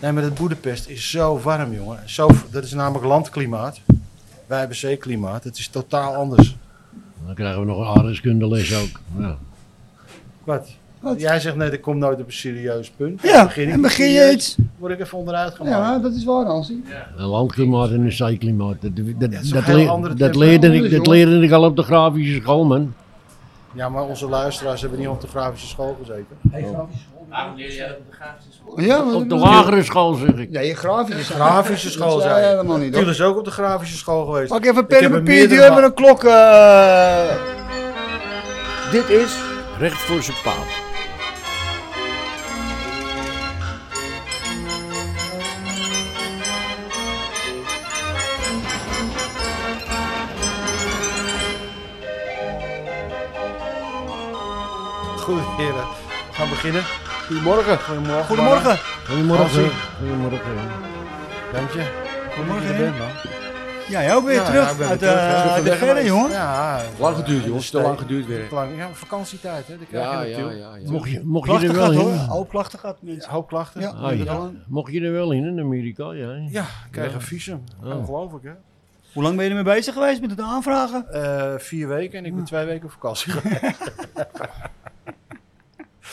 Nee, maar dat Boedapest is zo warm, jongen. Zo, dat is namelijk landklimaat. Wij hebben zeeklimaat. Het is totaal anders. Dan krijgen we nog een aardrijkskundeles ook. Ja. Wat? Wat? Jij zegt net, ik kom nooit op een serieus punt. Dan Ja, en begin je serieus, iets. Word ik even onderuit gemaakt. Ja, dat is waar, Hansie. Een landklimaat en een zeeklimaat. Dat, dat, dat, is een dat heel leer- andere dat tempo. leerde ik, Anders, dat joh. leerde ik al op de grafische school, man. Ja, maar onze luisteraars hebben niet op de grafische school gezeten. Waarom leer jij dat op de grafische school? Ja, wat- Op de lagere school, zeg ik. Nee, grafisch. Grafische school Dat zijn. zei je helemaal niet, hoor. Tiel is ook op de grafische school geweest. Pak even Ik pen en heb er papier, die meerdere hebben gehad. een klok. eh. Dit is... Recht voor zijn paap. Goed, heren. We gaan beginnen. Goedemorgen. Goedemorgen. Goedemorgen. Goedemorgen. Hansie. Goedemorgen. mannen. Dank je. Goedemorgen, Dat je er bent, man. Ja, jij ook weer Ja, ja, terug ik ben uit weer terug. eh, Terug uit van de weg verre, geweest. jongen. Ja, Lang geduurd, joh. jongens. Te lang geduurd weer. Lang, ja, vakantietijd, hè? Dat krijg Ja, je ja, natuurlijk. ja. Mocht je, mocht je Klachten er gehad wel hoor. in? Hoop klachten gehad mensen. Hoop klachten. Ja. Ah, ja. Nederland. Mocht je er wel in, in Amerika? Ja. Ja, ik krijg Ja. een visum. Oh. Ongelooflijk, hè? Hoe lang ben je ermee bezig geweest met het aanvragen? Eh, vier weken en ik ben twee weken op vakantie geweest.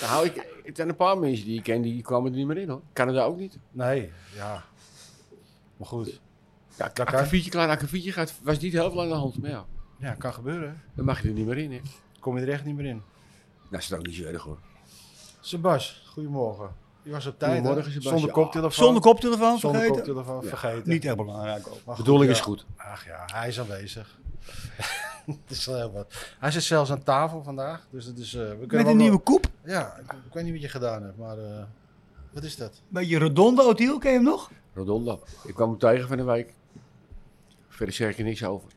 Nou, ik, het zijn een paar mensen die ik ken, die kwamen er niet meer in hoor. Canada ook niet. Nee, ja. Maar goed. Ja, Dat kan. akkefietje, klein akkefietje gaat, was niet heel veel aan de hand. Maar ja, Ja, kan gebeuren. hè. dan mag je er niet meer in hè. Kom je er echt niet meer in. Dat is het ook niet zo erg hoor. Sebas, goedemorgen. Je was op tijd. hè? Goedemorgen, Sebas. Zonder Ja. koptelefoon. Zonder koptelefoon Zonder vergeten? koptelefoon vergeten. Niet echt belangrijk ook. Maar Bedoeling ja. is goed. Ach ja, hij is aanwezig. Het is wel heel wat. Hij zit zelfs aan tafel vandaag. Dus het is, eh, we kunnen Met wel- een nieuwe koep. Ja, ik, ik weet niet wat je gedaan hebt, maar eh, wat is dat? Beetje redondo, Otiel, ken je hem nog? Rodondo. Ik kwam hem tegen van de week. Verder zeg ik er niks over.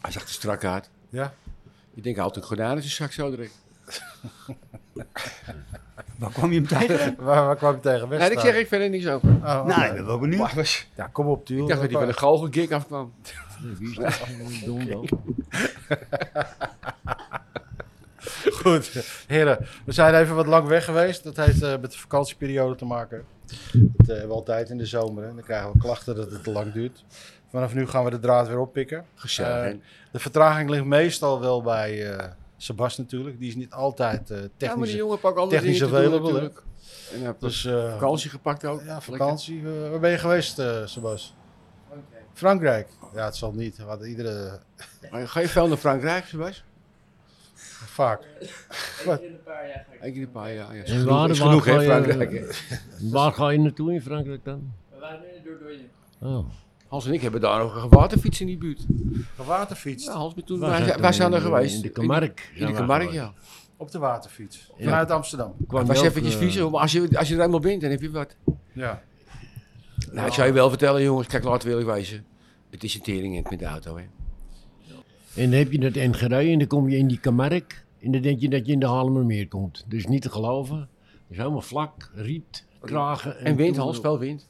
Hij zag er strak uit. Ja. Ik denk, hij had een gordijn in zijn zak zo direct. Waar kwam je hem tegen? Waar, waar kwam je tegen? Nee, ik zeg ik verder niks over. Oh, oké. nou, ik ben wel benieuwd. Ja, kom op, Tiel. Ik dacht dat hij van de goochelgig afkwam. Wie is dat? Dom dan. Goed. Heren, we zijn even wat lang weg geweest. Dat heeft eh, met de vakantieperiode te maken. Dat eh, hebben we altijd in de zomer. Hè. Dan krijgen we klachten dat het te lang duurt. Vanaf nu gaan we de draad weer oppikken. Gezellig. Eh, hè? De vertraging ligt meestal wel bij eh Sebas natuurlijk. Die is niet altijd eh ja, maar die technisch. jongen pak andere technisch dingen te doen available, hè? natuurlijk. En hij heeft dus dus, eh, vakantie gepakt ook. Ja, vakantie. Eh, waar ben je geweest, eh Sebas? Frankrijk. Ja, het zal niet. Want iedere... Lekker. Ga je veel naar Frankrijk, Sebas? Vaak. Wat? In een paar jaar ga ik. Ik in een paar jaar. Ja, is En genoeg, waar- is eh, waar genoeg ga hè, je- Frankrijk. hè? Waar ga je naartoe in Frankrijk dan? We waren nu door door je. Oh. Hans en ik hebben daar nog een waterfiets in die buurt. Een waterfiets. Ja, Hans, maar toen, Waar wij, zijn wij, toen? zijn er In- geweest. in de Camargue In, zijn de wij Camargue, geweest. ja. Op de waterfiets. Ja. Vanuit Amsterdam. Het Kwam was je ook, eventjes eh, vies, hoor, maar als je, als je er eenmaal bent, dan heb je wat. Ja. Nou, ik zou je wel vertellen, jongens. Kijk, laten we eerlijk wezen. Het is een tering met de auto, hè. En dan heb je dat eind gereden en dan kom je in die Camargue. En dan denk je dat je in de Halemermeer komt. Dus niet te geloven. Het is helemaal vlak, riet, kragen. En wind, Hans, veel wind.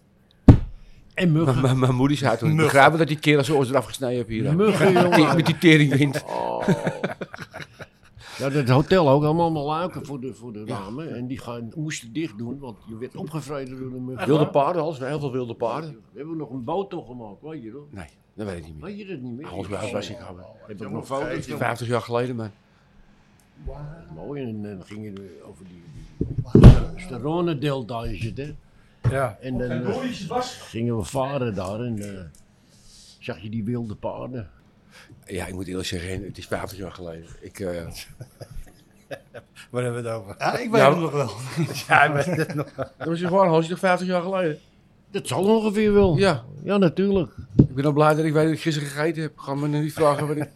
En muggen. Maar maar- mijn moeder zei toen, ik begrijp wel dat die kerel zijn oors eraf gesneden heeft hier. hè. Muggen, jongen. Oh. Met die teringwind. Ja, dat hotel ook allemaal allemaal luiken voor de, voor de ramen. En die gaan, moesten dicht doen, want je werd opgevreten door de muggen. Wilde paarden, Hans. Heel veel wilde paarden. We hebben nog een boot toch gemaakt, weet je wel? Nee, dat weet ik niet meer. Weet Oh, je dat niet meer? Hans, bij huis was ik al. Heb ik nog foto's van? 50 jaar geleden, man. Mooi, en dan ging je over die... die Sterone-delta is het, hè? Ja. En dan eh, gingen we varen daar en eh, zag je die wilde paarden. Ja, ik moet eerlijk zeggen, het is 50 jaar geleden. Ik, eh, Waar hebben we het over? Ja, ik weet Ja, hem nog wel. Ja, maar dit nog. dat was gewoon, Hans, toch 50 jaar geleden? Dat zal ongeveer wel. Ja, Ja, natuurlijk. ik ben al blij dat ik weet dat ik gisteren gegeten heb. Ga me niet vragen wat ik...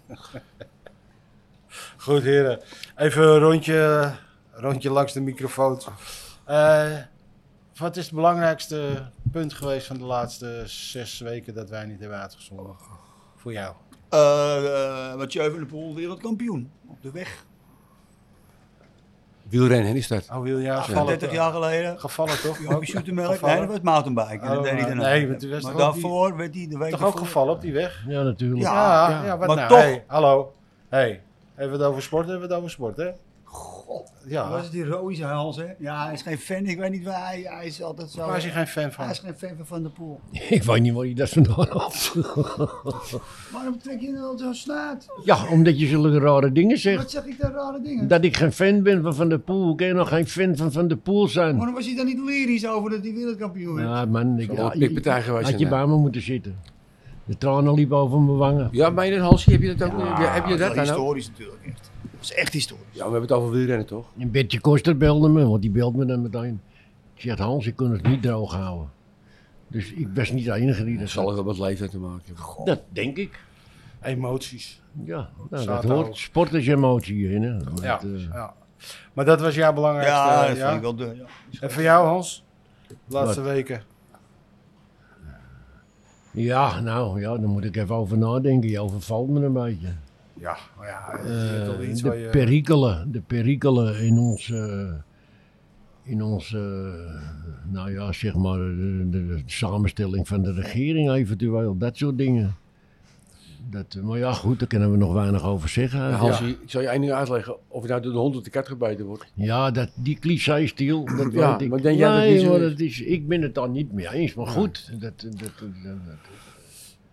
Goed, heren. Even een rondje, rondje langs de microfoon. Eh, wat is het belangrijkste punt geweest van de laatste zes weken dat wij niet hebben uitgezonden? Voor jou. Eh, eh, Mathieu van der Poel, wereldkampioen. Op de weg. Wielrennen is dat. eh, Oh, wil je gevallen? 30 jaar geleden. Gevallen toch? Ja, ook shootermelk. Gevallen. Nee, dat was mountainbiken. Oh, dat deed hij maar- dan nee, ook. maar toen was maar toch ook daarvoor werd hij de week Toch ook ervoor- gevallen op die weg? Ja, natuurlijk. Ja. Ja, ja, wat maar nou? toch. Hey, hallo. Hey, hebben we het over sport? Hebben we het over sport, hè? God. Ja. Was het die Roy zijn hals, hè? Ja, hij is geen fan. Ik weet niet waar hij, hij is altijd zo. Waar is hij geen fan van? Hij is geen fan van Van der Poel. Ik weet niet waar je dat vandaan had. Waarom trek je dan zo snaad? Ja, omdat je zulke rare dingen zegt. Wat zeg ik daar rare dingen? Dat ik geen fan ben van Van der Poel. Hoe kan je nog geen fan van Van der Poel zijn? Waarom was hij dan niet lyrisch over dat hij wereldkampioen werd? Ja, man. Ik, Zo'n ja, pikpartij geweest had je zijn, hè? bij me moeten zitten. De tranen liepen over mijn wangen. Ja, maar in een halsje heb je dat ook. Ja, ja, heb je is wel dat dan ook? historisch natuurlijk, echt. Dat is echt historisch. Ja, we hebben het over wielrennen toch? En Bertje Koster belde me, want die belt me dan meteen. Ik zeg, Hans, ik kon het niet droog houden. Dus ik was niet de enige die dat Dat zal zag. ook wel met leeftijd te maken hebben. Dat denk ik. Emoties. Ja, nou, dat Zaterdag. hoort. Sport is emotie. Hè? nou, dat, Ja. eh, ja. Maar dat was jouw belangrijkste. Ja, eh, dat ja? vind ik wel de. Ja. En voor jou, Hans? De laatste weken. ja, nou, ja, daar moet ik even over nadenken. Je overvalt me een beetje. Ja, maar ja, je Eh, hebt al iets waar de je- perikelen, de perikelen in ons, eh, in ons eh, nou ja, zeg maar, de, de- de samenstelling van de regering eventueel, dat soort dingen. Dat, eh, maar ja, goed, daar kunnen we nog weinig over zeggen. Ja, Ja, Hansie, ik zal je één ding uitleggen. Of je nou door de hond of de kat gebeten wordt. dat, die cliché stil, dat Ja, weet ik. maar denk jij dat Nee, niet zo maar is? dat is, ik ben het daar niet mee eens, maar goed, dat, dat, dat, dat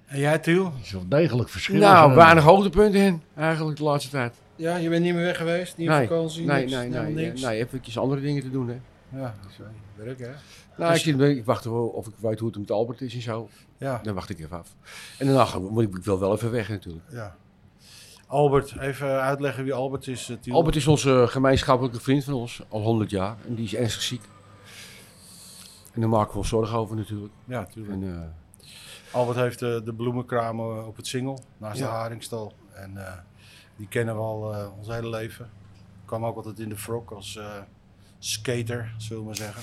En jij, Tiel? is wel degelijk verschil. Nou, zijn. weinig hoogtepunten in eigenlijk de laatste tijd. Ja, je bent niet meer weg geweest? Niet op Nee, vakantie? nee, niks, nee, helemaal nee, nee, niks? nee. Even andere dingen te doen, hè. Ja, dat is wel werk, hè? Nou, Dus- ik, zit- ik wacht wel of ik weet hoe het met Albert is en zo. Ja, Dan wacht ik even af. En daarna ga- moet ik, ik wil wel even weg natuurlijk. ja. Albert, even uitleggen wie Albert is, eh, Tiel. Albert is onze gemeenschappelijke vriend van ons, al 100 jaar. En die is ernstig ziek. En daar maken we ons zorgen over natuurlijk. Ja, tuurlijk. En, eh, Albert heeft eh, de bloemenkraam eh, op het Singel, naast Ja. de Haringstal. En eh, die kennen we al eh, ons hele leven. Kwam ook altijd in de frok als eh, skater, zullen we maar zeggen.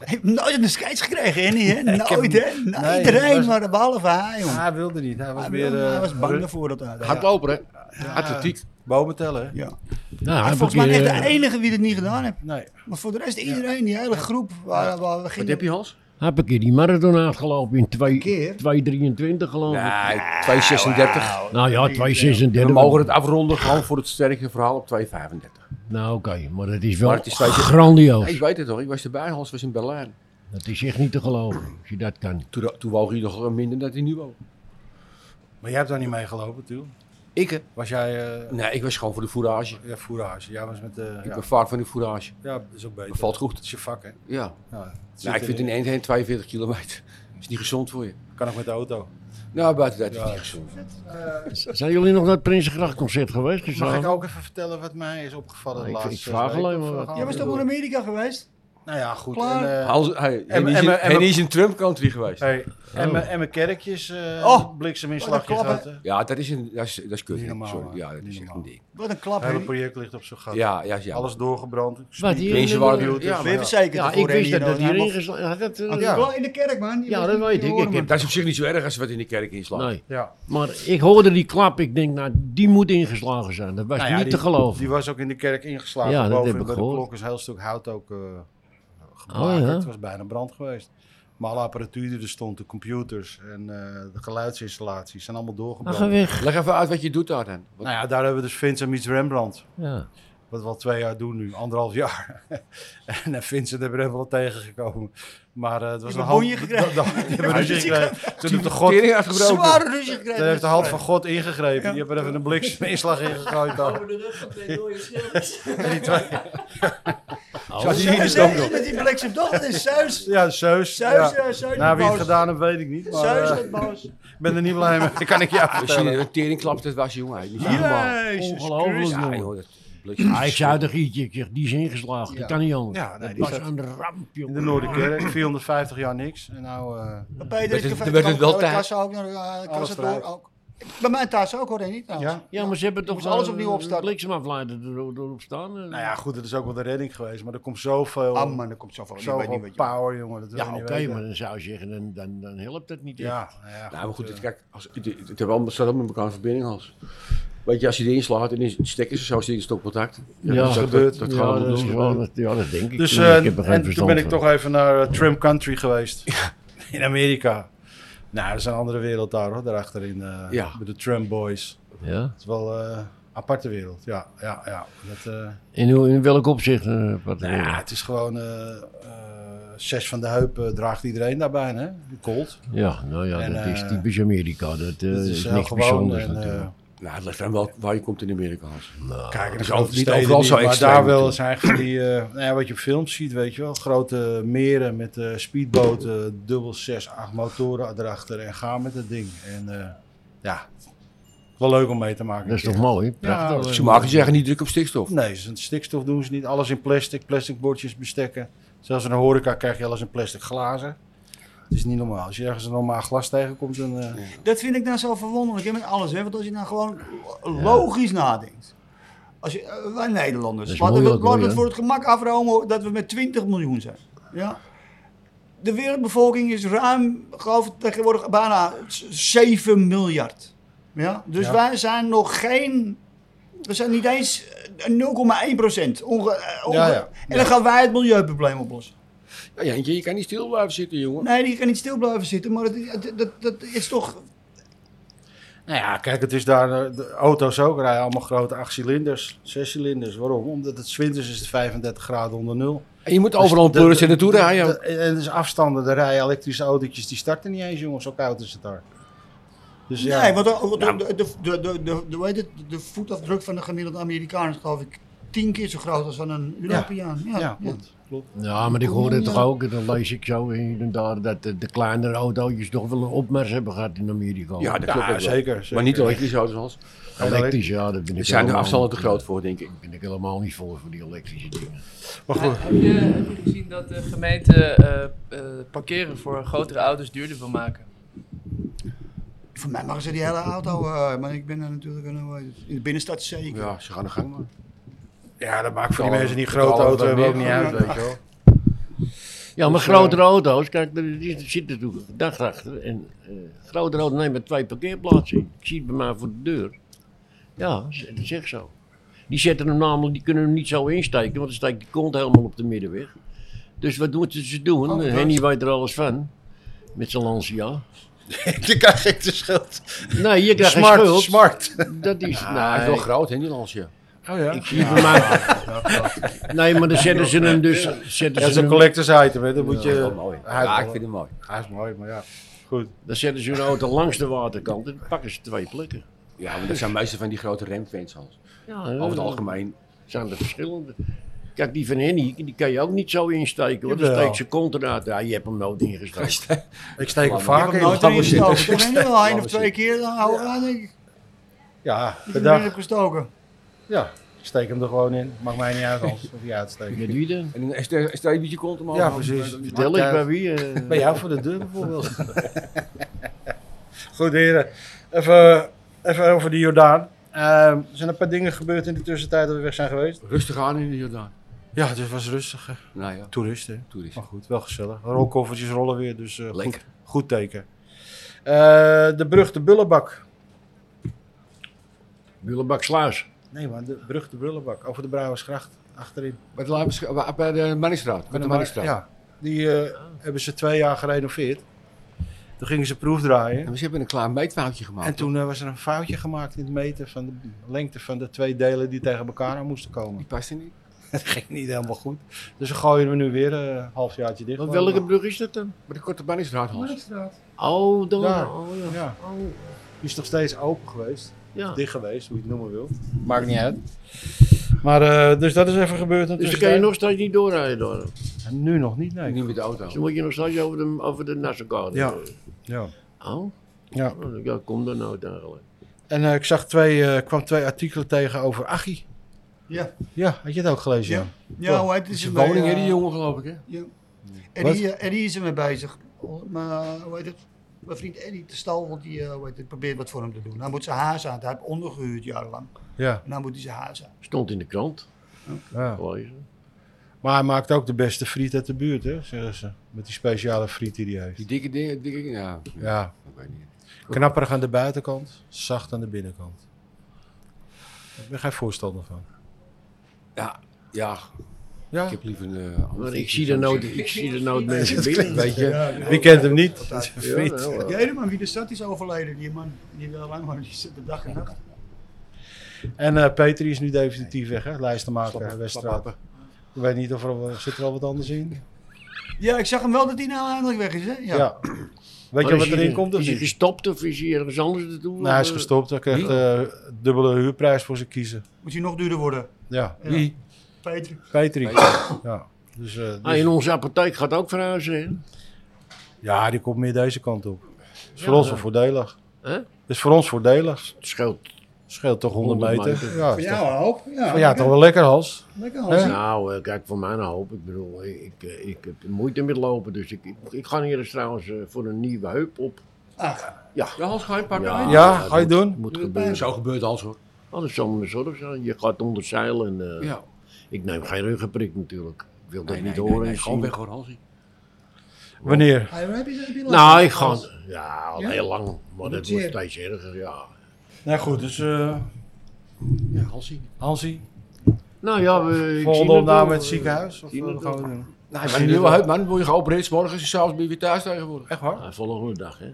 Hij heeft nooit een scheids gekregen, hè? Niet, hè? Nooit, hè? Nou, Nee, iedereen, was- maar behalve hij, jongen. Ah, hij wilde niet. Hij was Hij, meer... wilde- hij eh, was bang ru- daarvoor dat hij... Hardloper, hè? Atletiek. Bomen tellen, hè? Ja. Nou, Hij heb Ah, volgens ik, mij eh, echt de enige wie dat niet gedaan heeft. Nee. Maar voor de rest, iedereen, die hele groep waar, waar we Wat gingen. heb je, Hans? Heb ik hier die marathon uitgelopen in twee- keer? 2,23 geloof Nou, ik. Nee, 236. Nou ja, 2,36. We mogen het afronden gewoon voor het sterke verhaal op 235. Nou oké, maar dat is wel Maar het is 2,36. grandioos. ik weet het toch, ik was erbij, Hans was in Berlijn. Dat is echt niet te geloven, als je dat kan. Toen, toen woog hij nog minder dan hij nu woog. Maar jij hebt daar niet mee gelopen, Tiel. Ik? hè? Was jij eh Nee, ik was gewoon voor de fourage. ja, fourage? Jij was met de... Ik Ja, ben vaak van de fourage. ja, dat is ook beter. Dat valt Dat goed. is je vak, hè? Ja. Ja, het zit Nou, ik vind in- in Eindhoven 42 kilometer. is niet gezond voor je. Kan ook met de auto. Nou, buiten dat is Ja. het niet gezond. Zijn jullie nog naar het Prinsengrachtconcert geweest? Mag gisteravond? ik ook even vertellen wat mij is opgevallen Nou, de ik- laatste ik vraag zes weken? alleen maar Of eh, wat. gaan we Jij was toch door? wel in Amerika geweest? Nou ja, goed. Klaar. En, eh, Hans, hey, en, die is en- in- en- en die is in Trump country geweest. hey, en, mijn- en mijn kerkjes eh Oh, blikseminslagje wat een gehad. klap, hè? Ja, dat is, een, dat is, dat is kut. Niet normaal, Sorry. hè? Ja, dat Niet is echt een normaal. ding. Wat een klap, Het hele Henny. project ligt op zijn gat. Ja, ja, ja. Alles doorgebrand. Wat, hier Mensen in de- waren- computers, ja, maar Weet het zeker Ja, ik voor wist Henny dat dat dan, hè? hierin Maar- geslagen had. dat, eh, Had Ja. hij wel In de kerk, man. Die Ja, was dat niet weet te ik. horen, Ik man. heb Dat is op zich niet zo erg als wat in de kerk inslaat. Nee, Ja. maar ik hoorde die klap. Ik denk, nou, die moet ingeslagen zijn. Dat was Nou ja, niet die- te geloven. Die was ook in de kerk ingeslagen. Ja, dat Boven heb ik bij de gehoord. klok is een heel stuk hout ook eh Oh, geblakerd. ja. Het was bijna brand geweest. Maar alle apparatuur die er stond, de computers en eh, de geluidsinstallaties zijn allemaal doorgebrand. Ach, weg. Leg even uit wat je doet daar dan. Wat- nou ja, daar hebben we dus Vincent meets Rembrandt. Ja. Wat we al twee jaar doen nu, anderhalf jaar. en eh, Vincent hebben we er wel tegengekomen. Maar eh, het was hebben een hand. bonje gekregen. da- da- die hebben Ja, ruzie die- gekregen. Toen heeft de God Tering uitgebroken. Zware ruzie Toen heeft de gekregen. hand van God ingegrepen. Die hebben er even een blikseminslag ingegooid. al. Over de rug van twee mooie schilders. Zo zie je Zeus, het ook hè? nog. Met die bliksem toch? Dat is Zeus. Ja, Zeus. Zeus, ja. eh, Zeus. Nou, wie het boos. gedaan heeft, weet ik niet. Maar, Zeus eh, werd boos. ik ben er niet blij mee. Dat kan ik jou Als je vertellen. een tering klapt, dat was jongen. Niet normaal. Jezus Ongelooflijk, Christus. Ja, jongen. joh, dat blik- Ah, ik zei tegen Gietje, ik zeg, die is ingeslagen. Ja. Dat kan niet anders. Ja, nee, dat die was zat- een ramp, jongen. In de Noorderkerk, 450 jaar niks. En nou, eh, Maar Peter is Werd het- gevaarlijk. werd het wel Alle tijd? kassen ook naar de Alles kassa eruit. door. Ook. Bij mijn thuis ook hoor, niet. trouwens. Ja? Ja, maar ze hebben toch moest alles eh, opnieuw opstarten. bliksemafleider erop erop staan. eh. nou ja, goed, het is ook wel de redding geweest. Maar er komt zoveel, Ah man, er komt zoveel. Ik weet zoveel niet wat je... power, jongen. Dat wil Ja, je oké, niet weten. maar dan zou je zeggen, dan, dan, dan helpt dat niet. echt. Ja, nou ja, Nou, maar goed, eh, het, kijk, als, het, het, het hebben allemaal- staat allemaal met elkaar in verbinding, Hans. Weet je, als je erin slaat en in stekkers en zo, zit het ook contact. Ja, dat, is dat ook- gebeurt. Dat, dat ja, gaan we dat is doen. wel- dat- ja, dat denk ik. Dus niet. eh, ik heb er geen en toen verstand ben ik van. toch even naar eh, Trump Country geweest. In Amerika. Nou, dat is een andere wereld daar hoor, daarachter in eh Ja. bij de Trump Boys. Ja? Het is wel eh, aparte wereld. Ja, ja, ja. Dat, eh, In, hoe- in welk opzicht? eh, wat nou ja, het is gewoon eh, eh, zes van de heup eh, draagt iedereen daarbij, hè? Cold. ja, nou ja, En, dat is eh, typisch Amerika. Dat, eh, Dat is, heel niks bijzonders en, eh, natuurlijk. Nou, het ligt aan wel waar je komt in Amerika. Hans. Kijk, is dat over- is niet niet overal overal zo niet, Maar extreem daar wel natuurlijk. zijn eigenlijk die, eh, nou ja, wat je op films ziet, weet je wel. Grote meren met eh, speedboten, dubbel 6, 8 motoren erachter en gaan met het ding. En eh, ja, wel leuk om mee te maken. dat is toch mooi? Prachtig. dat Ze maken zich niet druk op stikstof. Nee, ze- stikstof doen ze niet. Alles in plastic, plastic bordjes, bestekken. Zelfs in de horeca krijg je alles in plastic glazen. Het is niet normaal. Als je ergens een normaal glas tegenkomt, dan... eh, Dat vind ik nou zo verwonderlijk hè, met alles. Hè? Want als je nou gewoon logisch nadenkt. Als je, eh, wij Nederlanders. Dat is Laten we moeilijk, laten we hoor, het voor het gemak afromen dat we met 20 miljoen zijn. Ja? De wereldbevolking is ruim, geloof ik, tegenwoordig bijna s- 7 miljard. Ja? Dus Ja. wij zijn nog geen. We zijn niet eens eh, 0,1 procent. Onge, eh, onge- Ja, ja. En dan gaan wij het milieuprobleem oplossen. Ja, Jantje, je kan niet stil blijven zitten, jongen. Nee, die gaan niet stil blijven zitten, maar dat, dat, dat, dat is toch. Nou ja, kijk, het is daar. eh, De auto's ook rijden allemaal grote 8 cilinders, 6 cilinders. Waarom? Omdat het 's winters is het 35 graden onder nul. En je moet overal een Dus de- pleuris en naartoe de- rijden. de- En dus afstanden, er rijden elektrische autootjes, die starten niet eens, jongens. Zo koud is het daar. Dus ja, Nee, want eh, de, Nou. de, de, de, de, de, de- hoe heet het? de voetafdruk van de gemiddelde Amerikaan is geloof ik tien keer zo groot als van een Europeaan. Ja, ja, ja, klopt. klopt. Ja, maar ik hoor het toch ook, en dan lees ik zo hier en daar, dat de, de kleinere autootjes toch wel een opmars hebben gehad in Amerika. Ja, dat klopt ook Ja, wel. zeker, zeker. Maar niet elektrische auto's, Hans. elektrisch, ja, dat ben Er ik zijn er helemaal- afstanden te groot voor, denk ik. Daar ben ik helemaal niet voor, voor die elektrische dingen. Maar goed, Eh, Heb je, heb je gezien dat de gemeente eh, eh, parkeren voor grotere auto's duurder wil maken? Voor mij mag ze die hele auto, eh, maar ik ben er natuurlijk een, eh, hoe heet het, in de binnenstad zeker. Ja, ze gaan de gang maar. ja, dat maakt voor Betalen- die mensen die grote betalen auto we hebben ook meer. niet uit, weet je wel. Ja, maar grotere auto's, kijk, er is- er zit natuurlijk gedacht achter. En eh, grotere auto's nemen twee parkeerplaatsen in. Ik zie het bij mij voor de deur. Ja, z- dat is echt zo. Die zetten hem namelijk, die kunnen hem niet zo insteken, want dan steekt die kont helemaal op de middenweg. Dus wat doen ze- ze doen? Eh, Oh, dat- Henny weet er alles van. Met zijn Lancia. Je krijgt geen te schuld. Nee, je krijgt Smart, geen schuld. smart. Dat is, Hij is wel nee, groot, hè, die Lansje. Oh ja. ik zie het bij mij. Nee, maar dan zetten ze hem dus... Zetten Dat is ze een hem, collectors item, hè. Dat moet je... wel mooi. Hij is Ja, wel- ik vind hem mooi. Hij is mooi, maar ja. Goed. dan zetten ze hun auto langs de waterkant en pakken ze twee plekken. Ja, maar dat zijn meestal van die grote remfans, Hans. Ja, Over het Eh. algemeen. zijn er verschillende. Kijk, die van Henny, die kan je ook niet zo insteken. Want dan Jawel. steekt ze kont eruit. Ja, je hebt hem nooit ingestoken. Ik steek hem Ik heb vaak Ik heb in. hem nooit Gaan we erin zitten. gestoken. Toen ben je wel één of Laten we twee keer, dan hou ik aan, denk ik. Ja, dat ik erin bedankt. heb gestoken. Ja, ik steek hem er gewoon in. Maakt mij niet uit als of je uitsteekt. Met wie dan? En een ST- ST-bietje komt omhoog. Ja, Hans. precies. Vertel eens bij wie. eh, Bij jou voor de deur bijvoorbeeld. Goed heren, even, even over de Jordaan. Ehm, er zijn een paar dingen gebeurd in de tussentijd dat we weg zijn geweest. Rustig aan in de Jordaan. Ja, dus het was rustig. Nou ja, Toeristen. toerist. Maar goed, wel gezellig. Rolkoffertjes rollen weer, dus eh, Oh, goed, Lekker. goed teken. Eh, de brug, de Bullenbak. Bullebak Sluis. Nee man, de brug, de Bullenbak. Over de Brouwersgracht, achterin. Bij de, Laarbesch- bij- bij de Manningstraat. Bij de Manningstraat. Ja, die eh, hebben ze twee jaar gerenoveerd. Toen gingen ze proefdraaien. En ze hebben een klein meetfoutje gemaakt. En toen eh, was er een foutje gemaakt in het meten van de lengte van de twee delen die tegen elkaar aan moesten komen. Die paste niet. Dat ging niet helemaal goed. Dus we gooien hem nu weer eh, een halfjaartje dicht. Want welke brug is dat dan? Maar de korte Manningstraat, Hans. Oh, dan. Daar. Oh, ja. Ja, Oh, die is nog steeds open geweest. ja. Dicht geweest, hoe je het noemen wil. Maakt niet uit. Maar eh, dus dat is even gebeurd. Dus natuurlijk. daar kan je nog steeds niet doorrijden. Door. Nu nog niet, nee. Niet met de auto. Dus dan moet je nog steeds over de, over de Nassaukade. Ja. Ja. Oh, Ja. oh, ja, kom dan nou eigenlijk. En eh, ik zag twee, eh, kwam twee artikelen tegen over Achie. Ja, Ja, had je het ook gelezen? Ja. Jan? ja hoe heet het? Het is Is een ermee, woning, hè, eh, die jongen, geloof ik, hè? Ja. Wat? Eddie, eh, Eddie is ermee bezig. Maar, eh, hoe heet het? Mijn vriend Eddie te stal, want die eh, hoe heet het, probeert wat voor hem te doen. Hij moet zijn huis uit. Hij heeft ondergehuurd jarenlang. Ja. En dan moet hij zijn huis uit. Stond in de krant. ja. Gelezen. Maar hij maakt ook de beste friet uit de buurt, hè, zeggen ze. Met die speciale friet die hij heeft. Die dikke dingen, dikke ja. Ja, Ik weet niet. knapperig aan de buitenkant, zacht aan de binnenkant. Ik ben geen voorstander van. Ja, ja, Ja, ik heb liever een eh, ander Maar ik frietje, zie er zou nooit, ik zie er nooit mensen binnen. weet je. Ja, ja. Wie kent hem niet? Altijd. Het is een friet. Ja, wel. De ene man wie de stad is overleden, die man, die wil lang maar die zit de dag en nacht. En eh, Peter die is nu definitief weg, hè? Lijstenmaker, Slappe- Weststraat. slappe- Ik weet niet of er, zit er al wat anders in. Ja, ik zag hem wel dat hij nou eindelijk weg is, hè? Ja. Ja. Weet je Maar wat is hij- erin komt of Is hij niet? gestopt of is hij ergens anders naartoe? Nou, hij is Of, eh, gestopt. Hij krijgt eh dubbele huurprijs voor zijn kiezen. Moet hij nog duurder worden. Ja, Ja. Wie? Peter. Petri. Ja. Dus, eh, dus- Ah, en onze apotheek gaat ook verhuizen, hè? ja, die komt meer deze kant op. Dat is voor ons wel voordelig. Hè? Dat is voor ons voordelig. Het scheelt. Scheelt toch 100 100 meter. meter. Ja, Voor is jou toch, een hoop. Ja, van Oh ja, toch wel lekker Hans. Lekker Hans. Hans. Ja. Nou, eh, kijk, voor mij een hoop. Ik bedoel, eh, ik, eh, ik heb moeite met lopen. Dus ik, ik, ik ga hier eens trouwens eh, voor een nieuwe heup op. Ach, De hals ga je pakken. hè? Ja, ga je moet- doen? Moet Doe je gebeuren. Zo gebeurt alles hoor. Anders zal mijn zorg zijn. Je gaat onder zeil en eh, Ja. ik neem geen ruggenprik natuurlijk. Ik wil dat Nee, niet nee, nee, horen. nee, en gewoon zien. weg hoor, Hansie. Wanneer? hij heb je heb je last van? Nou, ik ga. Ja, al Ja? heel lang. Maar doet dat zeer. wordt steeds erger, ja. Nou goed, dus eh Ja, Hansie. Hansie. Nou ja, we. ik zie Volgende het opname wel, met het eh, ziekenhuis? Of zien wat het gaan we wel. doen? Nou, maar een nieuwe huid, man. Word je geopereerd, 's morgens en s'avonds ben je weer thuis tegenwoordig. Echt waar? ja, volgende dag, hè?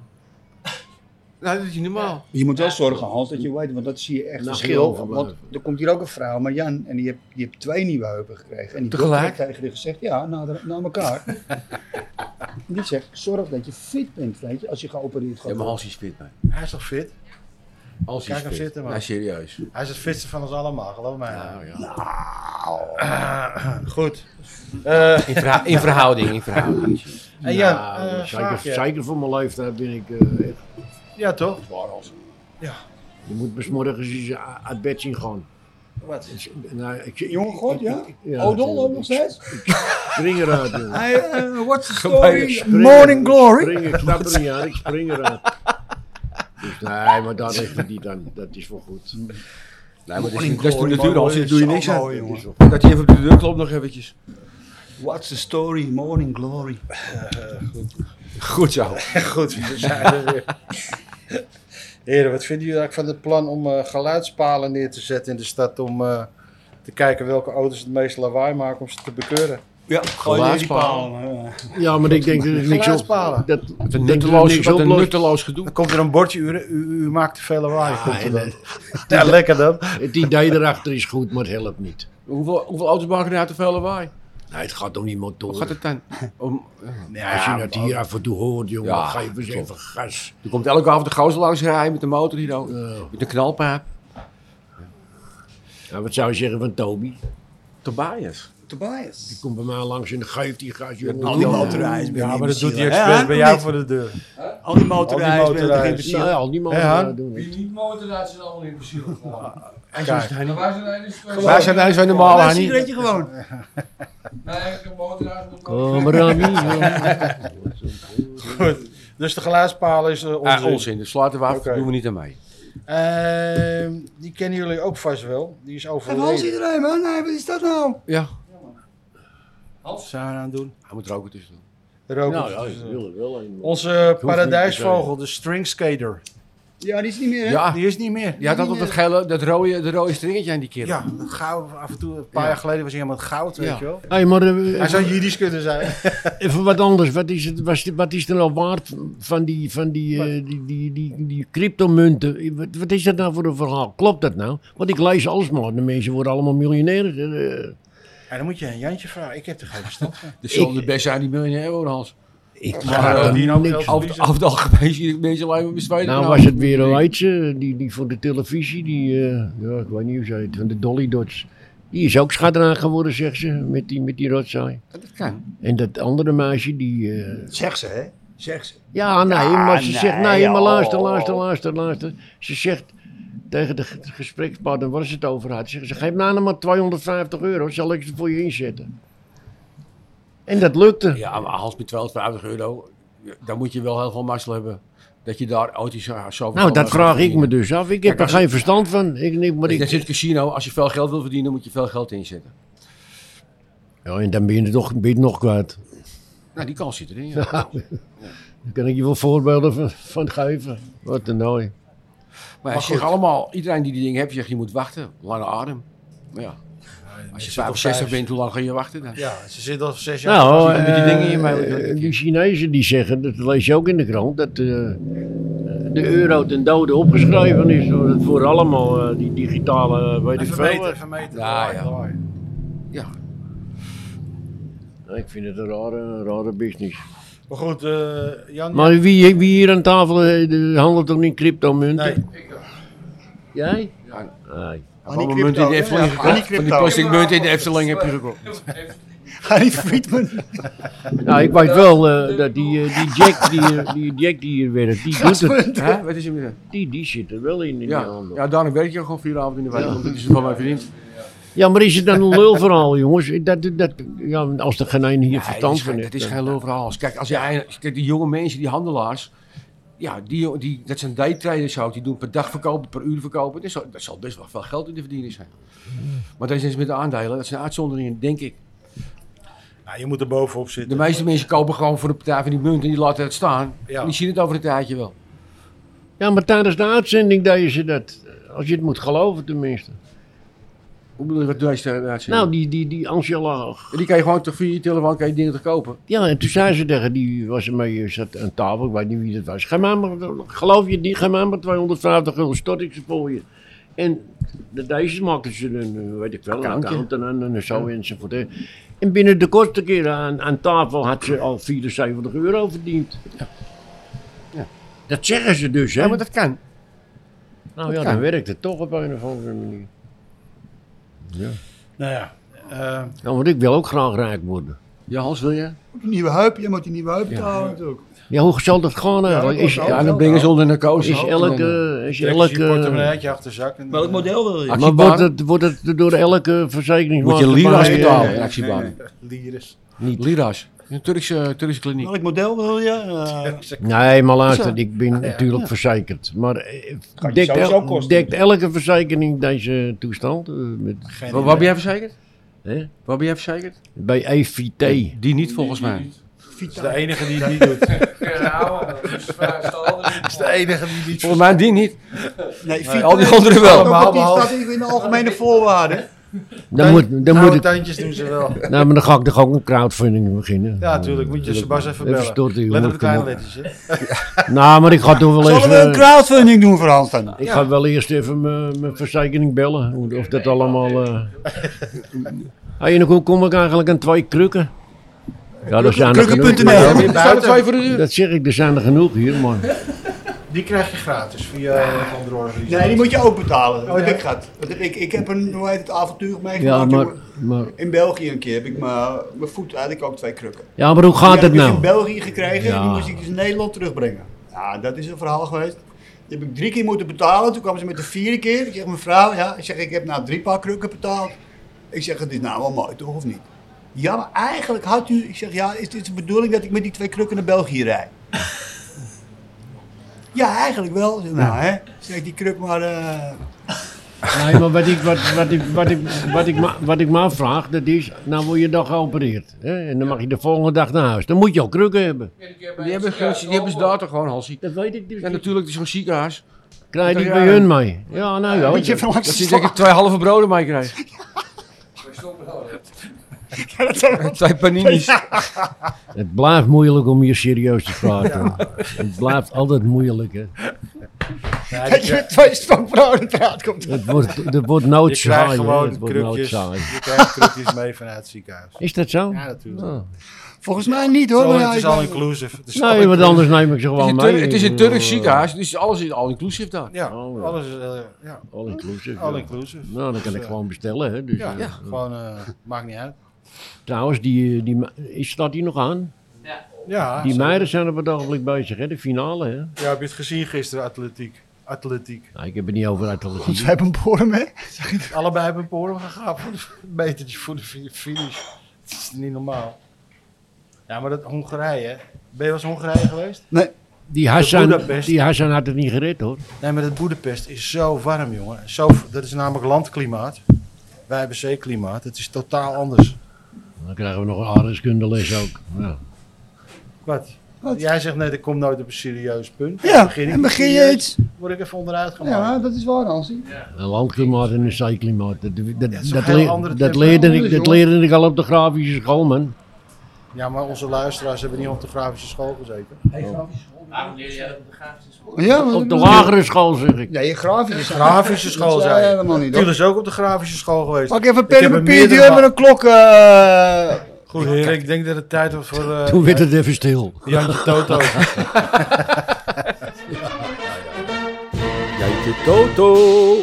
Nou, dat is niet normaal. Je moet wel zorgen, Hans, dat je weet, want dat zie je echt Nou, verschil. heel Want er komt hier ook een vrouw, Marjan, en die heeft, die heeft twee nieuwe heupen gekregen. En die Tegelijk? dokter heeft tegen haar gezegd, ja, na, de- na elkaar. En die zegt, zorg dat je fit bent, weet je, als je geopereerd gaat Ja, maar worden. Hansie is fit, man. Hij is toch fit? Hansie Kijk is hem fit. zitten, man. Ja, serieus. Hij is het fitste van ons allemaal, geloof mij. Nou, ja. Goed. Eh, In, verha- in verhouding, in verhouding. en Jan, Nou, eh, zeker, vraagje. zeker voor mijn leeftijd ben ik. eh, echt- Ja, toch? je moet besmorgens eens a- uit bed zien gaan. Wat? Dus, nou, ik, Jonge god, ja? ja, Odol ook nog steeds? Spring eruit, jongen. Hij, eh, what's the Gebeurde story? Spring- Morning glory. Spring, ik snap er niet aan, ik spring eruit. Dus nee, maar daar ligt het niet aan. Dat is wel goed. Nee, maar dat is, Morning dat is de glory, natuur, man, Hansie. Daar is doe je zo niks aan. mooi, jongen. Dat hij even op de deur klopt nog eventjes. What's the story? Morning glory. Goed zo. Goed, we zijn er weer. Heren, wat vinden jullie eigenlijk van het plan om eh, geluidspalen neer te zetten in de stad om eh, te kijken welke auto's het meest lawaai maken om ze te bekeuren? Ja, gooi die Geluidspalen. palen. eh. Ja, maar ik denk dat er niks op. Geluidspalen. Dat, dat Wat er een nutteloos, niks wat een oplost. nutteloos gedoe. Dan komt er een bordje, u, u, u maakt te veel lawaai. komt er en, dan. Ja, lekker dan. Het idee erachter is goed, maar het helpt niet. Hoeveel, hoeveel auto's maken er uit de vuile lawaai? Nee, het gaat om die Hoe motor. gaat het dan? Om, Als je dat hier af en toe hoort, jongen, Ja, geef eens klopt. even gas. er komt elke avond de gozer langs rijden met de motor hier ook. Ja. Met een knalpaap. Nou, wat zou je zeggen van Toby? Tobias. Tobias. Die komt bij mij langs en geeft die gas, jongen. Al die motorrijden. Ja, maar dat doet hij expres bij jou voor de deur. Al die motorrijden. ben je toch in motorrijders. principe- Nou ja, al die Hé, Han? motorrijden doen het. Wie niet motorrijden zijn allemaal in principe gewoon. Kijk, Maar wij dus zijn eigenlijk twee. Wij zijn nou zijn normaal, Een Hannie. sigaretje gewoon. Nee, eigenlijk een motorrijder moet gewoon- Kom maar aan, niet, eh, nou, jongen. goed. Dus de geluidspalen is eh, Ah, onzin. onzin, dus sluiten we af, Oké. doen we niet aan mee. Ehm, die kennen jullie ook vast wel. Die is En Hans overleden. iedereen, man. Nee, wat is dat nou? Ja, Wat zou hij aan doen? hij moet roken tussen. Roken. Nou ja, ik wil er wel een. Onze niet paradijsvogel, de stringskater. Ja, die is niet meer, hè? Ja, Die is niet meer. die had altijd dat gele, dat rode, dat rode stringetje aan die kerel. Ja, dat goud. Af en toe, een paar Ja. jaar geleden was hij helemaal het goud, weet Ja. je wel. Hé, maar eh, Hij zou Jiddisch kunnen zijn. even wat anders. Wat is, het, was, wat is er nou waard van die, van die, eh, die, die, die, die cryptomunten? Wat, wat is dat nou voor een verhaal? Klopt dat nou? Want ik lees alles maar. De mensen worden allemaal miljonair. Eh, En dan moet je een Jantje vragen. Ik heb er geen verstand van. Dus zullen de best zijn die miljonair worden, Hans. ik Maar ga eh, er die nou niks geld van. Over, verliezen. over het algemeen zie ik mensen alleen maar met spelen. Nou was het weer een eitje, die, die voor de televisie, die, eh, ja, ik weet niet hoe ze heet, van de Dolly Dots. Die is ook schadraan geworden, zegt ze, met die, met die rotzooi. Dat kan. En dat andere meisje, die... eh, Zeg ze, hè? Zeg ze. Ja, nee, maar ze nee, zegt, nou, nee, maar joh. luister, luister, luister, luister. Ze zegt tegen de ge- gesprekspartner, waar is het over had? Ze zegt, ze, geef mij nou maar 250 euro, zal ik ze voor je inzetten. En dat lukte. Ja, maar Hans met 250 euro, dan moet je wel heel veel mazzel hebben. Dat je daar eh, auto's zo- zo nou, dat vraag ik me me. dus af. Ik heb er als geen verstand van. Ik, niet, maar Er ik, zit een casino, als je veel geld wil verdienen, moet je veel geld inzetten. ja, en dan ben je toch ben je het nog kwijt. Nou, die kans zit erin. Ja. Daar kan ik je wel voorbeelden van, van geven. Wat een nooi. Maar, je zegt allemaal, iedereen die die dingen heeft, zegt je moet wachten. Lange adem. Maar ja, als je 65 bent, hoe lang ga je wachten dan? Ja, ze zit al zes jaar. Nou, die- met die eh, dingen in mij- eh, die Chinezen die zeggen, dat lees je ook in de krant, dat eh, de euro ten dode opgeschreven is. Door het voor allemaal eh, die digitale, eh, weet ik Even veel. wat. meten, even meten. Ja, Lawaai, ja. lawaai. Ja. Nou, ik vind het een rare, rare business. Maar goed, eh, Jan. Maar wie, wie hier aan tafel eh, de- handelt toch niet cryptomunten? Nee, Jij? Ja. Nee. Allemaal munten in de Efteling gekocht. Van die plastic munten in de Efteling heb je gekocht. Harry Friedman. Nou, ik weet wel eh, dat die, eh, die, Jack die, hier- die Jack die hier werkt, die, doet het, Hè? Wat is hem weer? die, die zit er wel in in die Ja, handel. Ja. ja, daarom werk je gewoon vier avond in de week. Want dat is van mijn vriend. maar is het dan een lulverhaal, jongens? Dat, dat, ja, als er geen een hier Nee, dat verstand is van geen- heeft. Dat is dan- geen lul verhaal. Kijk, als je, kijk, die jonge mensen, die handelaars. Ja, die, die, dat zijn daytraders ook. Die doen per dag verkopen, per uur verkopen. Dus dat zal best wel veel geld in te verdienen zijn. Maar dat is met de aandelen. Dat zijn uitzonderingen, denk ik. nou, je moet er bovenop De zitten. meeste mensen kopen gewoon voor de partij van die munt en die laten het staan. Ja. En die zien het over een tijdje wel. Ja, maar tijdens de uitzending deed je dat. Als je het moet geloven tenminste. Hoe bedoel je wat deze eruit Nou, die, die, die Angela... En die kan je gewoon toch via je telefoon kan je dingen te kopen. Ja, en toen zei ze tegen die, was er mee, eh, zat aan tafel, ik weet niet wie dat was. Ga maar, maar geloof je het niet, ga maar maar 250 euro stort ik ze voor je. En de deze maakten ze een, eh, weet ik wel, een Accountje. account en, en, en zo enzovoort. hè. En binnen de kortste keren aan, aan tafel had ze al 74 euro verdiend. Ja. Dat zeggen ze dus, hè? Ja, maar dat kan. nou ja, kan. dan werkt het toch op een of andere manier. Nou ja. eh, Ja, want ik wil ook graag rijk worden. Ja, Hans, wil je? Moet een nieuwe heup, je moet die nieuwe heup betalen natuurlijk. Ja, hoe zal dat gaan eigenlijk? Is, Ja, dan ben je zonder narcose. eh, is elke... Is trek eens je elke portemonneetje achter de zak. En, eh, Welk model wil je? Maar Actiebaan. wordt het, wordt het door elke Moet je verzekeringsmaatschappij... lira's nee, betalen nee, in nee, eh, actiebaan. nee, Lires. Lira's. Een Turkse, eh, Turkse kliniek. Welk model wil je? Eh, Nee, maar Zo. luister, ik ben natuurlijk verzekerd. Maar eh, Kan je dekt, sowieso el- kosten. dekt elke verzekering deze toestand? Eh, met, Geen Waar, idee. waar ben jij verzekerd? hè? Waar ben jij verzekerd? Bij E EVT. Die niet volgens mij. Dat is de enige die het niet doet. Dat is de enige die het niet doet. Volgens mij die niet. Nee, Fiat- al die anderen wel. Ook op die Allemaal staat in de algemene voorwaarden. Dan moet, dan moet Oude ik, tuintjes doen ze wel. nou, maar dan ga ik toch ook een crowdfunding beginnen. Eh, Ja, natuurlijk. Moet je Sebas even Even bellen. storten, jongen. Let op de kleine Kom op. lettertjes. hè. Nou, maar ik ga toch wel Zullen even... we een crowdfunding doen voor Hans dan? ik ga wel eerst even mijn mijn verzekering bellen. hoe- Of dat allemaal... Ah, eh Hey, en hoe kom ik eigenlijk aan twee krukken? Ja, dat zijn er genoeg. Krukken.nl. Ja, weer Er staan er twee buiten. voor de deur. Dat zeg ik, er zijn er genoeg hier, maar... Die krijg je gratis via eh, een of andere organisatie. Nee, die moet je ook betalen. Dat heb ik gehad. Dat heb ik, ik heb een, hoe heet het, avontuur Ja, meegemaakt. maar, jongen. maar, In België een keer heb ik mijn, mijn voet, had ik ook twee krukken. ja, maar hoe gaat die het heb ik dus in nou? België gekregen en Ja. die moest ik dus in Nederland terugbrengen. Ja, dat is een verhaal geweest. Die heb ik drie keer moeten betalen. Toen kwamen ze met de vierde keer. Ik zeg, mevrouw, ja, ik zeg, ik heb nou drie paar krukken betaald. Ik zeg, het is nou wel mooi toch, of niet? Ja, maar eigenlijk had u... Ik zeg, ja, is dit de bedoeling dat ik met die twee krukken naar België rijd? ja, eigenlijk wel. Ik zeg, nou, hè. Ik Zeg, die kruk maar... eh, Nee, maar wat ik, wat, wat ik, wat ik, wat ik, ma- wat ik me afvraag, dat is, nou word je dan geopereerd. Hè? En dan mag je de volgende dag naar huis. Dan moet je al krukken hebben. Die hebben, geen- die hebben ze daar toch gewoon, Halsie. Dat weet ik dus Ja, niet. natuurlijk, het is zo'n ziekenhuis. Krijg je dat die ja. bij hun mee. Ja, nou ja. Moet je even langs Dat de je zeker slag. twee halve broden mee krijgt. Twee paninis. Het blijft moeilijk om je serieus te praten. Het blijft altijd moeilijk, hè. Nee, die Dat je krijg- met twee stokbroden praat komt. Het wordt, het wordt Je nooit saai, krijgt hè. gewoon Het wordt nooit krukjes. saai. Je krijgt krukjes mee vanuit het ziekenhuis. Is dat zo? Ja, natuurlijk. Oh. Volgens mij niet hoor. Zo, maar ja, Het is ik- al inclusive. Het is all Nee, want inclusive. anders neem ik ze Het is gewoon een mee. Turk- Het is een Ik bedoel, Turks eh, ziekenhuis, dus alles is al inclusief daar. Ja, Oh, ja. alles is eh, ja, All inclusive. all ja. inclusive. Nou, dan kan ik Dus, gewoon bestellen, hè. Dus, eh, Ja, eh, gewoon eh, maakt niet uit. Trouwens, die, die, ma- is staat die nog aan? Ja, Die zo. meiden zijn er per dagelijk bezig, hè? De finale, hè? ja, heb je het gezien gisteren, atletiek? Atletiek. Nou, ik heb het niet over uit de Zij hebben een boren mee. Allebei hebben een poren gegaan voor de- een metertje voor de fi- finish. Het is niet normaal. Ja, maar dat Hongarije, hè? ben je wel eens in Hongarije geweest? Die Hassan, Budapest. die Hassan had het niet gered, hoor. Nee, maar dat Boedapest is zo warm, jongen. Zo, dat is namelijk landklimaat. Wij hebben zeeklimaat. Het is totaal anders. Dan krijgen we nog een aardrijkskundeles ook. Ja. Wat? Wat? Jij zegt net, ik kom nooit op een serieus punt. Dan Ja, en ik begin je serieus, iets. Word ik even onderuit gemaakt. Ja, dat is waar, Hansie. Een landklimaat en een zeeklimaat. Dat, dat, dat, is een dat heel leer- andere dus, dat, tempo. leerde ik, Anders, dat joh. leerde ik al op de grafische school, man. Ja, maar onze luisteraars hebben niet op de grafische school gezeten. Hey, grafische school. Waarom leer jij dat op de grafische school? Ja, maar- Op de lagere school zeg ik. Nee, grafische school. Grafische school Dat zijn. helemaal niet. Tiel hoor. is ook op de grafische school geweest. Pak even een Ik pen heb en er papier, die meerdere hebben een klok. eh, Goed, heren, ik denk dat het tijd wordt voor eh, Toen werd het even stil. Jantje Toto. Jantje Toto.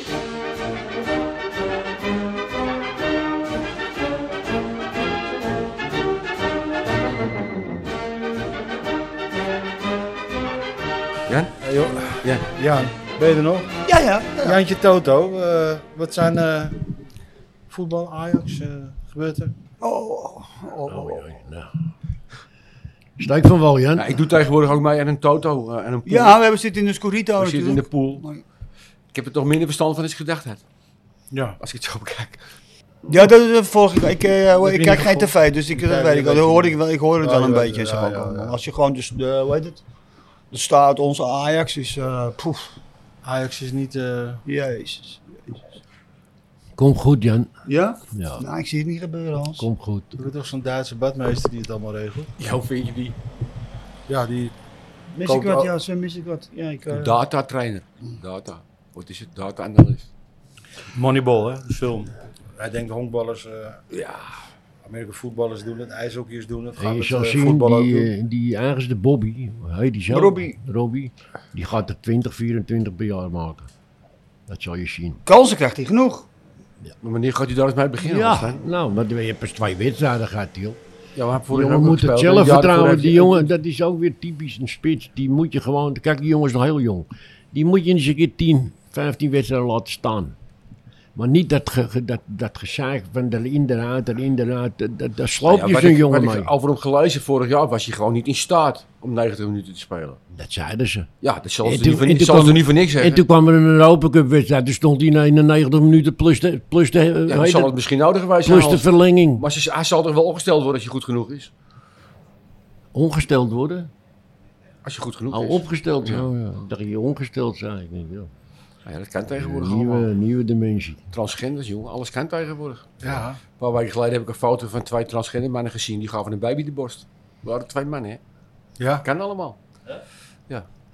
Ja? Eh, joh. Ja. Jan, ben je er nog? Ja, ja. Jantje Toto, eh, wat zijn eh, voetbal, Ajax, eh, gebeurt er? Oh, oh, oh. Oei, oei, nou. Steek van wal, Jan. Nou, ik doe tegenwoordig ook mee aan een Toto eh, en een pool. Ja, we hebben zitten in de Scorito oh, we zitten in de natuurlijk. pool. Mooi. Ik heb er toch minder verstand van als ik gedacht had. Ja. Als ik het zo bekijk. Ja, dat is de vorige keer. Ik, eh, ik niet kijk geen gevolgd. tv, dus ik, dat Nee, weet dat ik wel. weet ik Dat hoor niet. ik, wel. ik hoor het Ja, wel je een weet- beetje. ja, zeg ja, ook allemaal. ja. Als je gewoon, dus, de, hoe heet het? De staat, onze Ajax is, eh poef, Ajax is niet... eh, jezus. Kom goed, Jan. Ja? Ja, Nou, ik zie het niet gebeuren, Hans. kom goed. er is toch zo'n Duitse badmeester die het allemaal regelt? Ja, hoe vind je die? Ja, die... Mis Komt ik wat? al- Ja, Sven, mis ik wat? Ja, ik... eh, Data trainer. Data. Wat is het? Data analyst. Moneyball, hè? De film. Hij denkt honkballers, eh Ja. Amerika voetballers doen het, ijshockeyers doen het. En gaan je het, zal eh, zien, voetbal ook doen. die, eh, die ergens de Bobby, hoe heet die zo? Robbie. Robbie, die gaat er 20, 24 per jaar maken. Dat zal je zien. Kansen krijgt hij genoeg. Maar wanneer gaat hij daar eens mee beginnen? Alstijn? nou, maar je hebt pas twee wedstrijden gehad, joh. Ja, maar voor Die jongen moet het zelfvertrouwen, die jongen, dat is ook weer typisch een spits. Die moet je gewoon, kijk die jongen is nog heel jong. Die moet je eens een keer 10, 15 wedstrijden laten staan. Maar niet dat, ge, ge- dat, dat gezeik van erin, eruit, erin, eruit. Dat, dat, daar sloop je zo'n jongen mee. Nou Ik over hem gelezen vorig jaar was hij gewoon niet in staat om 90 minuten te spelen. Dat zeiden ze. Ja, dat zal En ze toen- niet voor- en toen zal ze kwam- niet voor niks En zeggen. toen kwam er een Europa Cup wedstrijd. Toen stond hij na 91 minuten plus de, plus de, hoe Ja, heet dan zal het? het misschien nodig geweest zijn. plus de Hans. verlenging. Maar ze- hij zal toch wel ongesteld worden als je goed genoeg is? Ongesteld worden? Als je goed genoeg Al is. opgesteld. Ja. Oh, ja. Dat je ongesteld zijn. Ik denk, joh. Nou Ja, dat kan tegenwoordig nieuwe, allemaal. nieuwe dimensie. Transgenders, jongen. Alles kan tegenwoordig. Ja. Een paar weken geleden heb ik een foto van twee transgender mannen gezien. Die gaven een baby de borst. We hadden twee mannen, hè. Ja. Kan allemaal.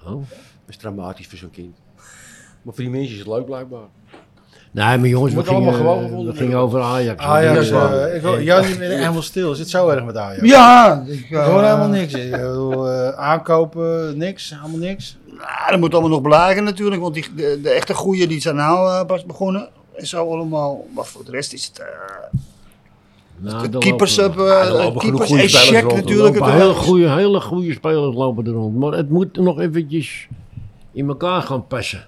Oh. Dat is dramatisch voor zo'n kind. Maar voor die mensen is het leuk, blijkbaar. Nee, maar jongens, we Wordt allemaal gingen, gewoon eh, we gevonden. gingen over Ajax. Nou, Ajax, Ja, eh ik hoor, Jan, je bent helemaal stil. Is het zo erg met Ajax? Ja, ik, Ik eh, hoor helemaal niks. Ik bedoel, eh, aankopen, niks, helemaal niks. Nou, dat moet allemaal nog blijken natuurlijk, want die, de, de echte goeie die zijn nou eh, pas begonnen. En zo allemaal, maar voor de rest is het... eh, Nou, de daar keepers lopen- hebben... Ah, er eh, lopen genoeg keepers goede en spelers check rond, er natuurlijk. lopen het- hele goede, hele goede spelers lopen er rond. Maar het moet nog eventjes in elkaar gaan passen.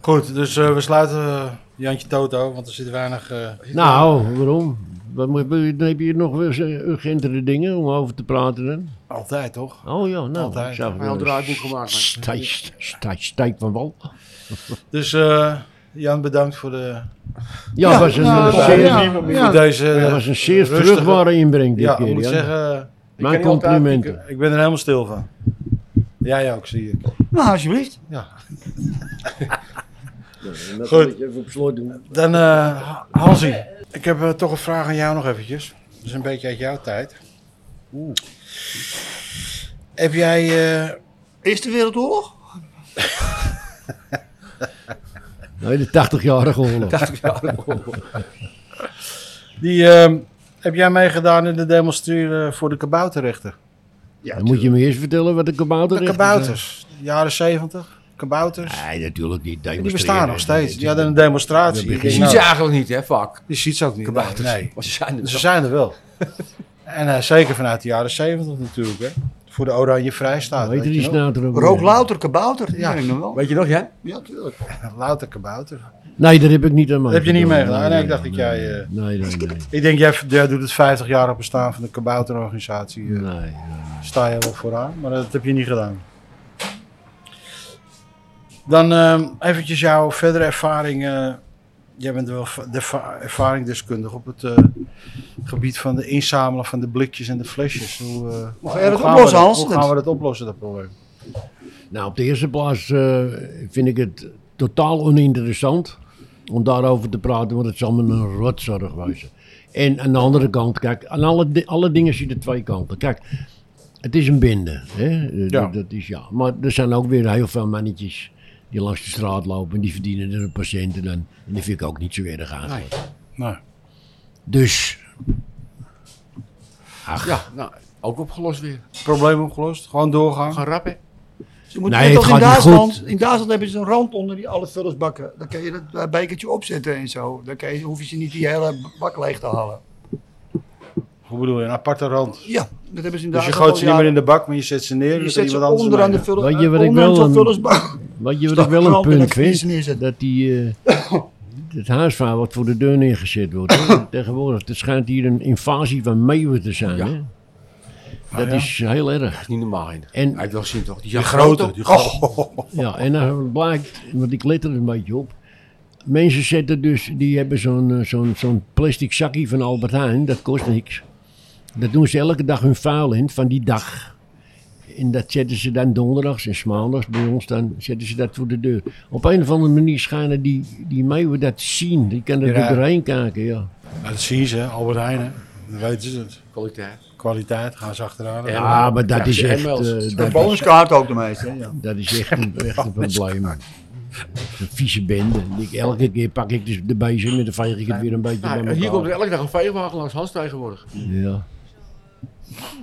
Goed, dus eh, we sluiten eh, Jantje Toto, want er zit weinig... eh, Nou, waarom? Wat moet, dan heb je nog weer eh, urgentere dingen om over te praten dan? Altijd, toch? Oh ja, nou. Altijd. ik zag wel Hij had er een draaiboek gemaakt, maar- stij- stij- Stijk van wal. Dus eh, Jan, bedankt voor, de, Ja, was een nou, eh, ja, zeer, ja. voor deze... eh, er was een zeer rustige- vruchtbare inbreng dit Ja, keer. ik moet Jan. zeggen, Mijn kan niet altijd complimenten. ik ben er helemaal stil van. Jij ook, zie ik. Nou, alsjeblieft. Goed. Even op slot doen. Dan, eh Hansie, ik heb eh, toch een vraag aan jou nog eventjes. Dat is een beetje uit jouw tijd. Heb jij... eh, Eerste Wereldoorlog? Nee, de 80-jarige oorlog. Die, ehm, heb jij meegedaan in de demonstreren voor de kabouterrechten? Ja, Dan moet je me eerst vertellen wat de kabouter De is. kabouters, de jaren zeventig, kabouters. Nee, natuurlijk niet. Die bestaan nog steeds. Die Ja, hadden een demonstratie. Ja, Ik Je denk, ziet ze nou, eigenlijk niet, hè, vaak. Die ziet ze ook niet. Nee, nee. Want ze zijn er Ze wel. zijn er wel. En eh, zeker vanuit de jaren zeventig natuurlijk. Hè. Voor de Oranje Vrijstaat. Weet je die je wel. snater ook weer? Rook louter kabouter, ja. Ja. ken ik nog wel. Weet je nog, Jan? Ja, tuurlijk. Louter kabouter. Nee, daar heb ik niet aan Heb je niet meegedaan? Nee, ik dacht nee, dat jij, eh, Nee, nee, nee. Ik denk, jij, jij doet het 50 jaar op bestaan van de kabouterorganisatie. eh, Nee. sta je wel vooraan, maar dat heb je niet gedaan. Dan ehm eventjes jouw verdere ervaring. eh, jij bent wel va- de va- ervaringdeskundig op het eh, gebied van de inzamelen van de blikjes en de flesjes. Hoe, eh, hoe jij dat gaan we oplossen, dat- Hans? Hoe gaan we dat oplossen, dat probleem? Nou, op de eerste plaats eh, vind ik het totaal oninteressant om daarover te praten, want het zal me een rotzorg wezen. En aan de andere kant, kijk, aan alle, di- alle dingen zie je de twee kanten. Kijk, Het is een binde. Hè? Eh, Ja. dat, dat is, ja. Maar er zijn ook weer heel veel mannetjes die langs de straat lopen en die verdienen er een patiënt. En, dan, en die vind ik ook niet zo erg eigenlijk. Nee. Dus, Ja, nou, ook opgelost weer. Probleem opgelost. Gewoon doorgaan. Gaan rappen. Ze moeten Nee, net het als in gaat niet Duitsland. In Duitsland hebben ze een rand onder die alle vullersbakken. Dan kan je dat eh, bekertje opzetten en zo. Dan kan je, hoef je ze niet die hele bak leeg te halen. Hoe bedoel je? Een aparte rand. Ja, dat hebben ze in Duitsland. Dus je gooit ze niet meer in de bak, maar je zet ze neer. Je zet ze onder onderaan de vullen- Weet je wat eh, ik wel onderaan zo'n een- vullersbak. wat je wat Slag ik wel een krant en punt dan kun je ze vind, neerzetten. dat die, eh, het huisvaar wat voor de deur neergezet wordt. hè. Tegenwoordig, het schijnt hier een invasie van meeuwen te zijn. Ja. Ah, Hè? Dat is heel erg. Niet normaal. hè. En- Hij heeft wel zin toch? Die, Die jacht grote. ook. Die grote. Ja, en dan blijkt, want ik let er een beetje op. Mensen zetten dus, die hebben zo'n eh, zo'n zo'n plastic zakje van Albert Heijn, dat kost niks. Dat doen ze elke dag hun vuil in van die dag. En dat zetten ze dan donderdags en maandags bij ons, dan zetten ze dat voor de deur. Op een of andere manier schijnen die, die meeuwen dat te zien. Die kunnen er Ja. doorheen kijken, ja. Nou, dat zien ze, hè. Albert Heijn. hè. Dan weten ze het. Kwaliteit. Kwaliteit, gaan ze achteraan. Ja. Ja, Ah, maar dat Ja, is ze echt, ML's. eh, Een dat, is, bonuskaart ook de meeste. hè, Ja. dat is echt een, echt een probleem. man. Een vieze bende. Ik, elke keer pak ik dus de bezem en dan veeg ik het weer een beetje bij Nou, elkaar. hier komt er elke dag een veewagen langs Hans tegenwoordig. Ja.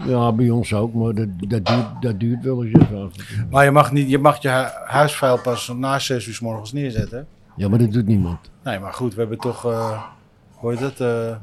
Ja, bij ons ook, maar dat, dat, duurt, dat duurt wel eens even. Maar je mag, niet, je, mag je hu- huisvuil pas na 6 uur s morgens neerzetten. hè. Ja, maar dat doet niemand. Nee, maar goed, we hebben toch, eh, hoe heet dat, eh,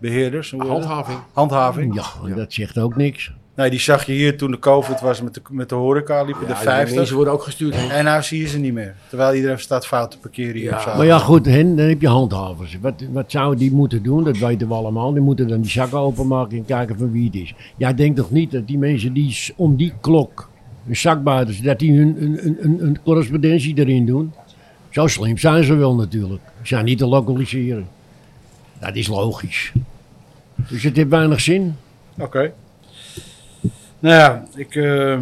beheerders? Hoe heet dat? Handhaving. Handhaving. Ja, dat zegt ook niks. Nee, die zag je hier toen de COVID was met de, met de horeca, liepen de Ja, die 50. Mensen worden ook gestuurd. hè. En nou zie je ze niet meer. Terwijl iedereen staat fout te parkeren hier Ja. op zaterdag. Maar ja, goed, hen, dan heb je handhavers. Wat, wat zouden die moeten doen? Dat weten we allemaal. Die moeten dan die zakken openmaken en kijken van wie het is. Jij denkt toch niet dat die mensen die s- om die klok, hun zakbuiters, dat die hun een, een, een, een correspondentie erin doen? Zo slim zijn ze wel natuurlijk. Ze zijn niet te lokaliseren. Dat is logisch. Dus het heeft weinig zin. Oké. Nou ja, ik eh,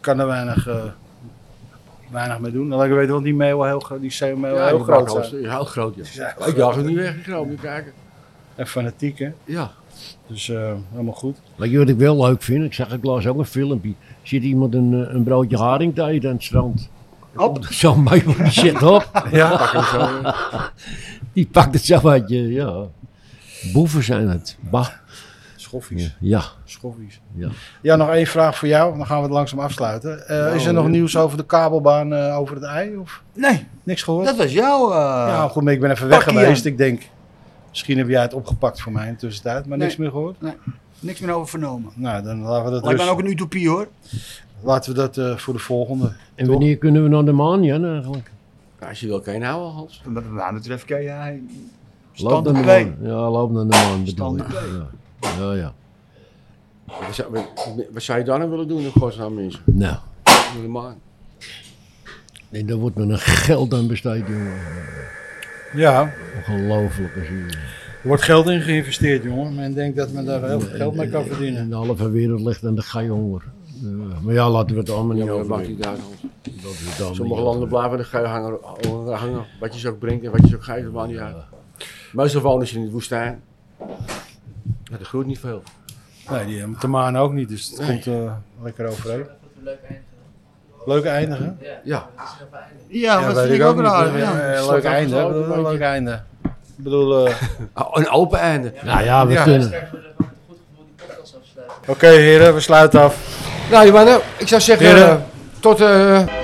kan er weinig, eh, weinig mee doen. Laat ik weten, want die mail heel, gro- die mail Ja, heel die groot bakroos, zijn. ja, Heel groot, ja. zijn heel Ik jaag hem niet weg, ik ga hem niet kijken. En fanatiek, hè. Ja. Dus eh, helemaal goed. Weet je wat ik wel leuk vind? Ik zag ik laatst ook een filmpje. Zit iemand een, eh, een broodje haring te eten aan het strand? Hop. Zo'n meubel die zit op. Ja, Die pakt het zo uit je. Ja. Boeven zijn het. Bah. schoffies. Ja. Schoffies. Ja. ja, nog één vraag voor jou. Dan gaan we het langzaam afsluiten. Eh, is er nog nieuws over de kabelbaan eh, over het ei? Of Nee, niks gehoord? dat was jouw... eh, Ja, goed, maar ik ben even weg Pakkie geweest. Ik denk, misschien heb jij het opgepakt voor mij in de tussentijd. Maar Nee. niks meer gehoord? Niks meer over vernomen. Nou, dan laten we dat Lijkt rusten. mij ook een utopie hoor. Laten we dat eh, voor de volgende. En wanneer kunnen we naar de maan, Jan, eigenlijk? Als je wil, kan je nou wel, Hans. Wat dat betreft kan jij... Loop naar Standaard de 2. maan. Ja, loop naar de maan bedoel Standaard ik. Ja. ja, ja. Wat zou, wat- wat zou je daar nou willen doen in godsnaam, mensen? Nou. Doe de maan. En daar wordt me een geld aan besteed, jongen. Ja, Ongelooflijk. als je- er wordt geld in geïnvesteerd, jongen. Men denkt dat men daar heel veel geld mee kan En verdienen. de halve wereld ligt aan de geihongerd. Ja, maar ja, laten we het allemaal Ja, niet maar dat over. mag niet uit, Hans. Dat is het allemaal Sommige niet landen over- blijven de gui hangen, hangen, hangen. Wat je ze ook brengt en wat je ze ook geeft, dat maakt niet uit. Meestal wonen ze in de woestijn. Ja, er groeit niet veel. Nee, die hebben de maan ook niet, dus het komt eh, lekker overeen. Leuk eindigen. Leuk eindigen. Ja, Ja, Ja, dat vind ik ook raar. niet. Ja. Eh, Staat leuk ook einde. zo, hè? Bedoel, een beetje. Leuk einde. Ik bedoel, eh, Ah, een open einde. Nou ja, we Ja. kunnen. Krijgen we er gewoon met een goed gevoel die podcast afsluiten. oké heren, we sluiten af. Nou, Johanna, ik zou zeggen, Heren. tot... eh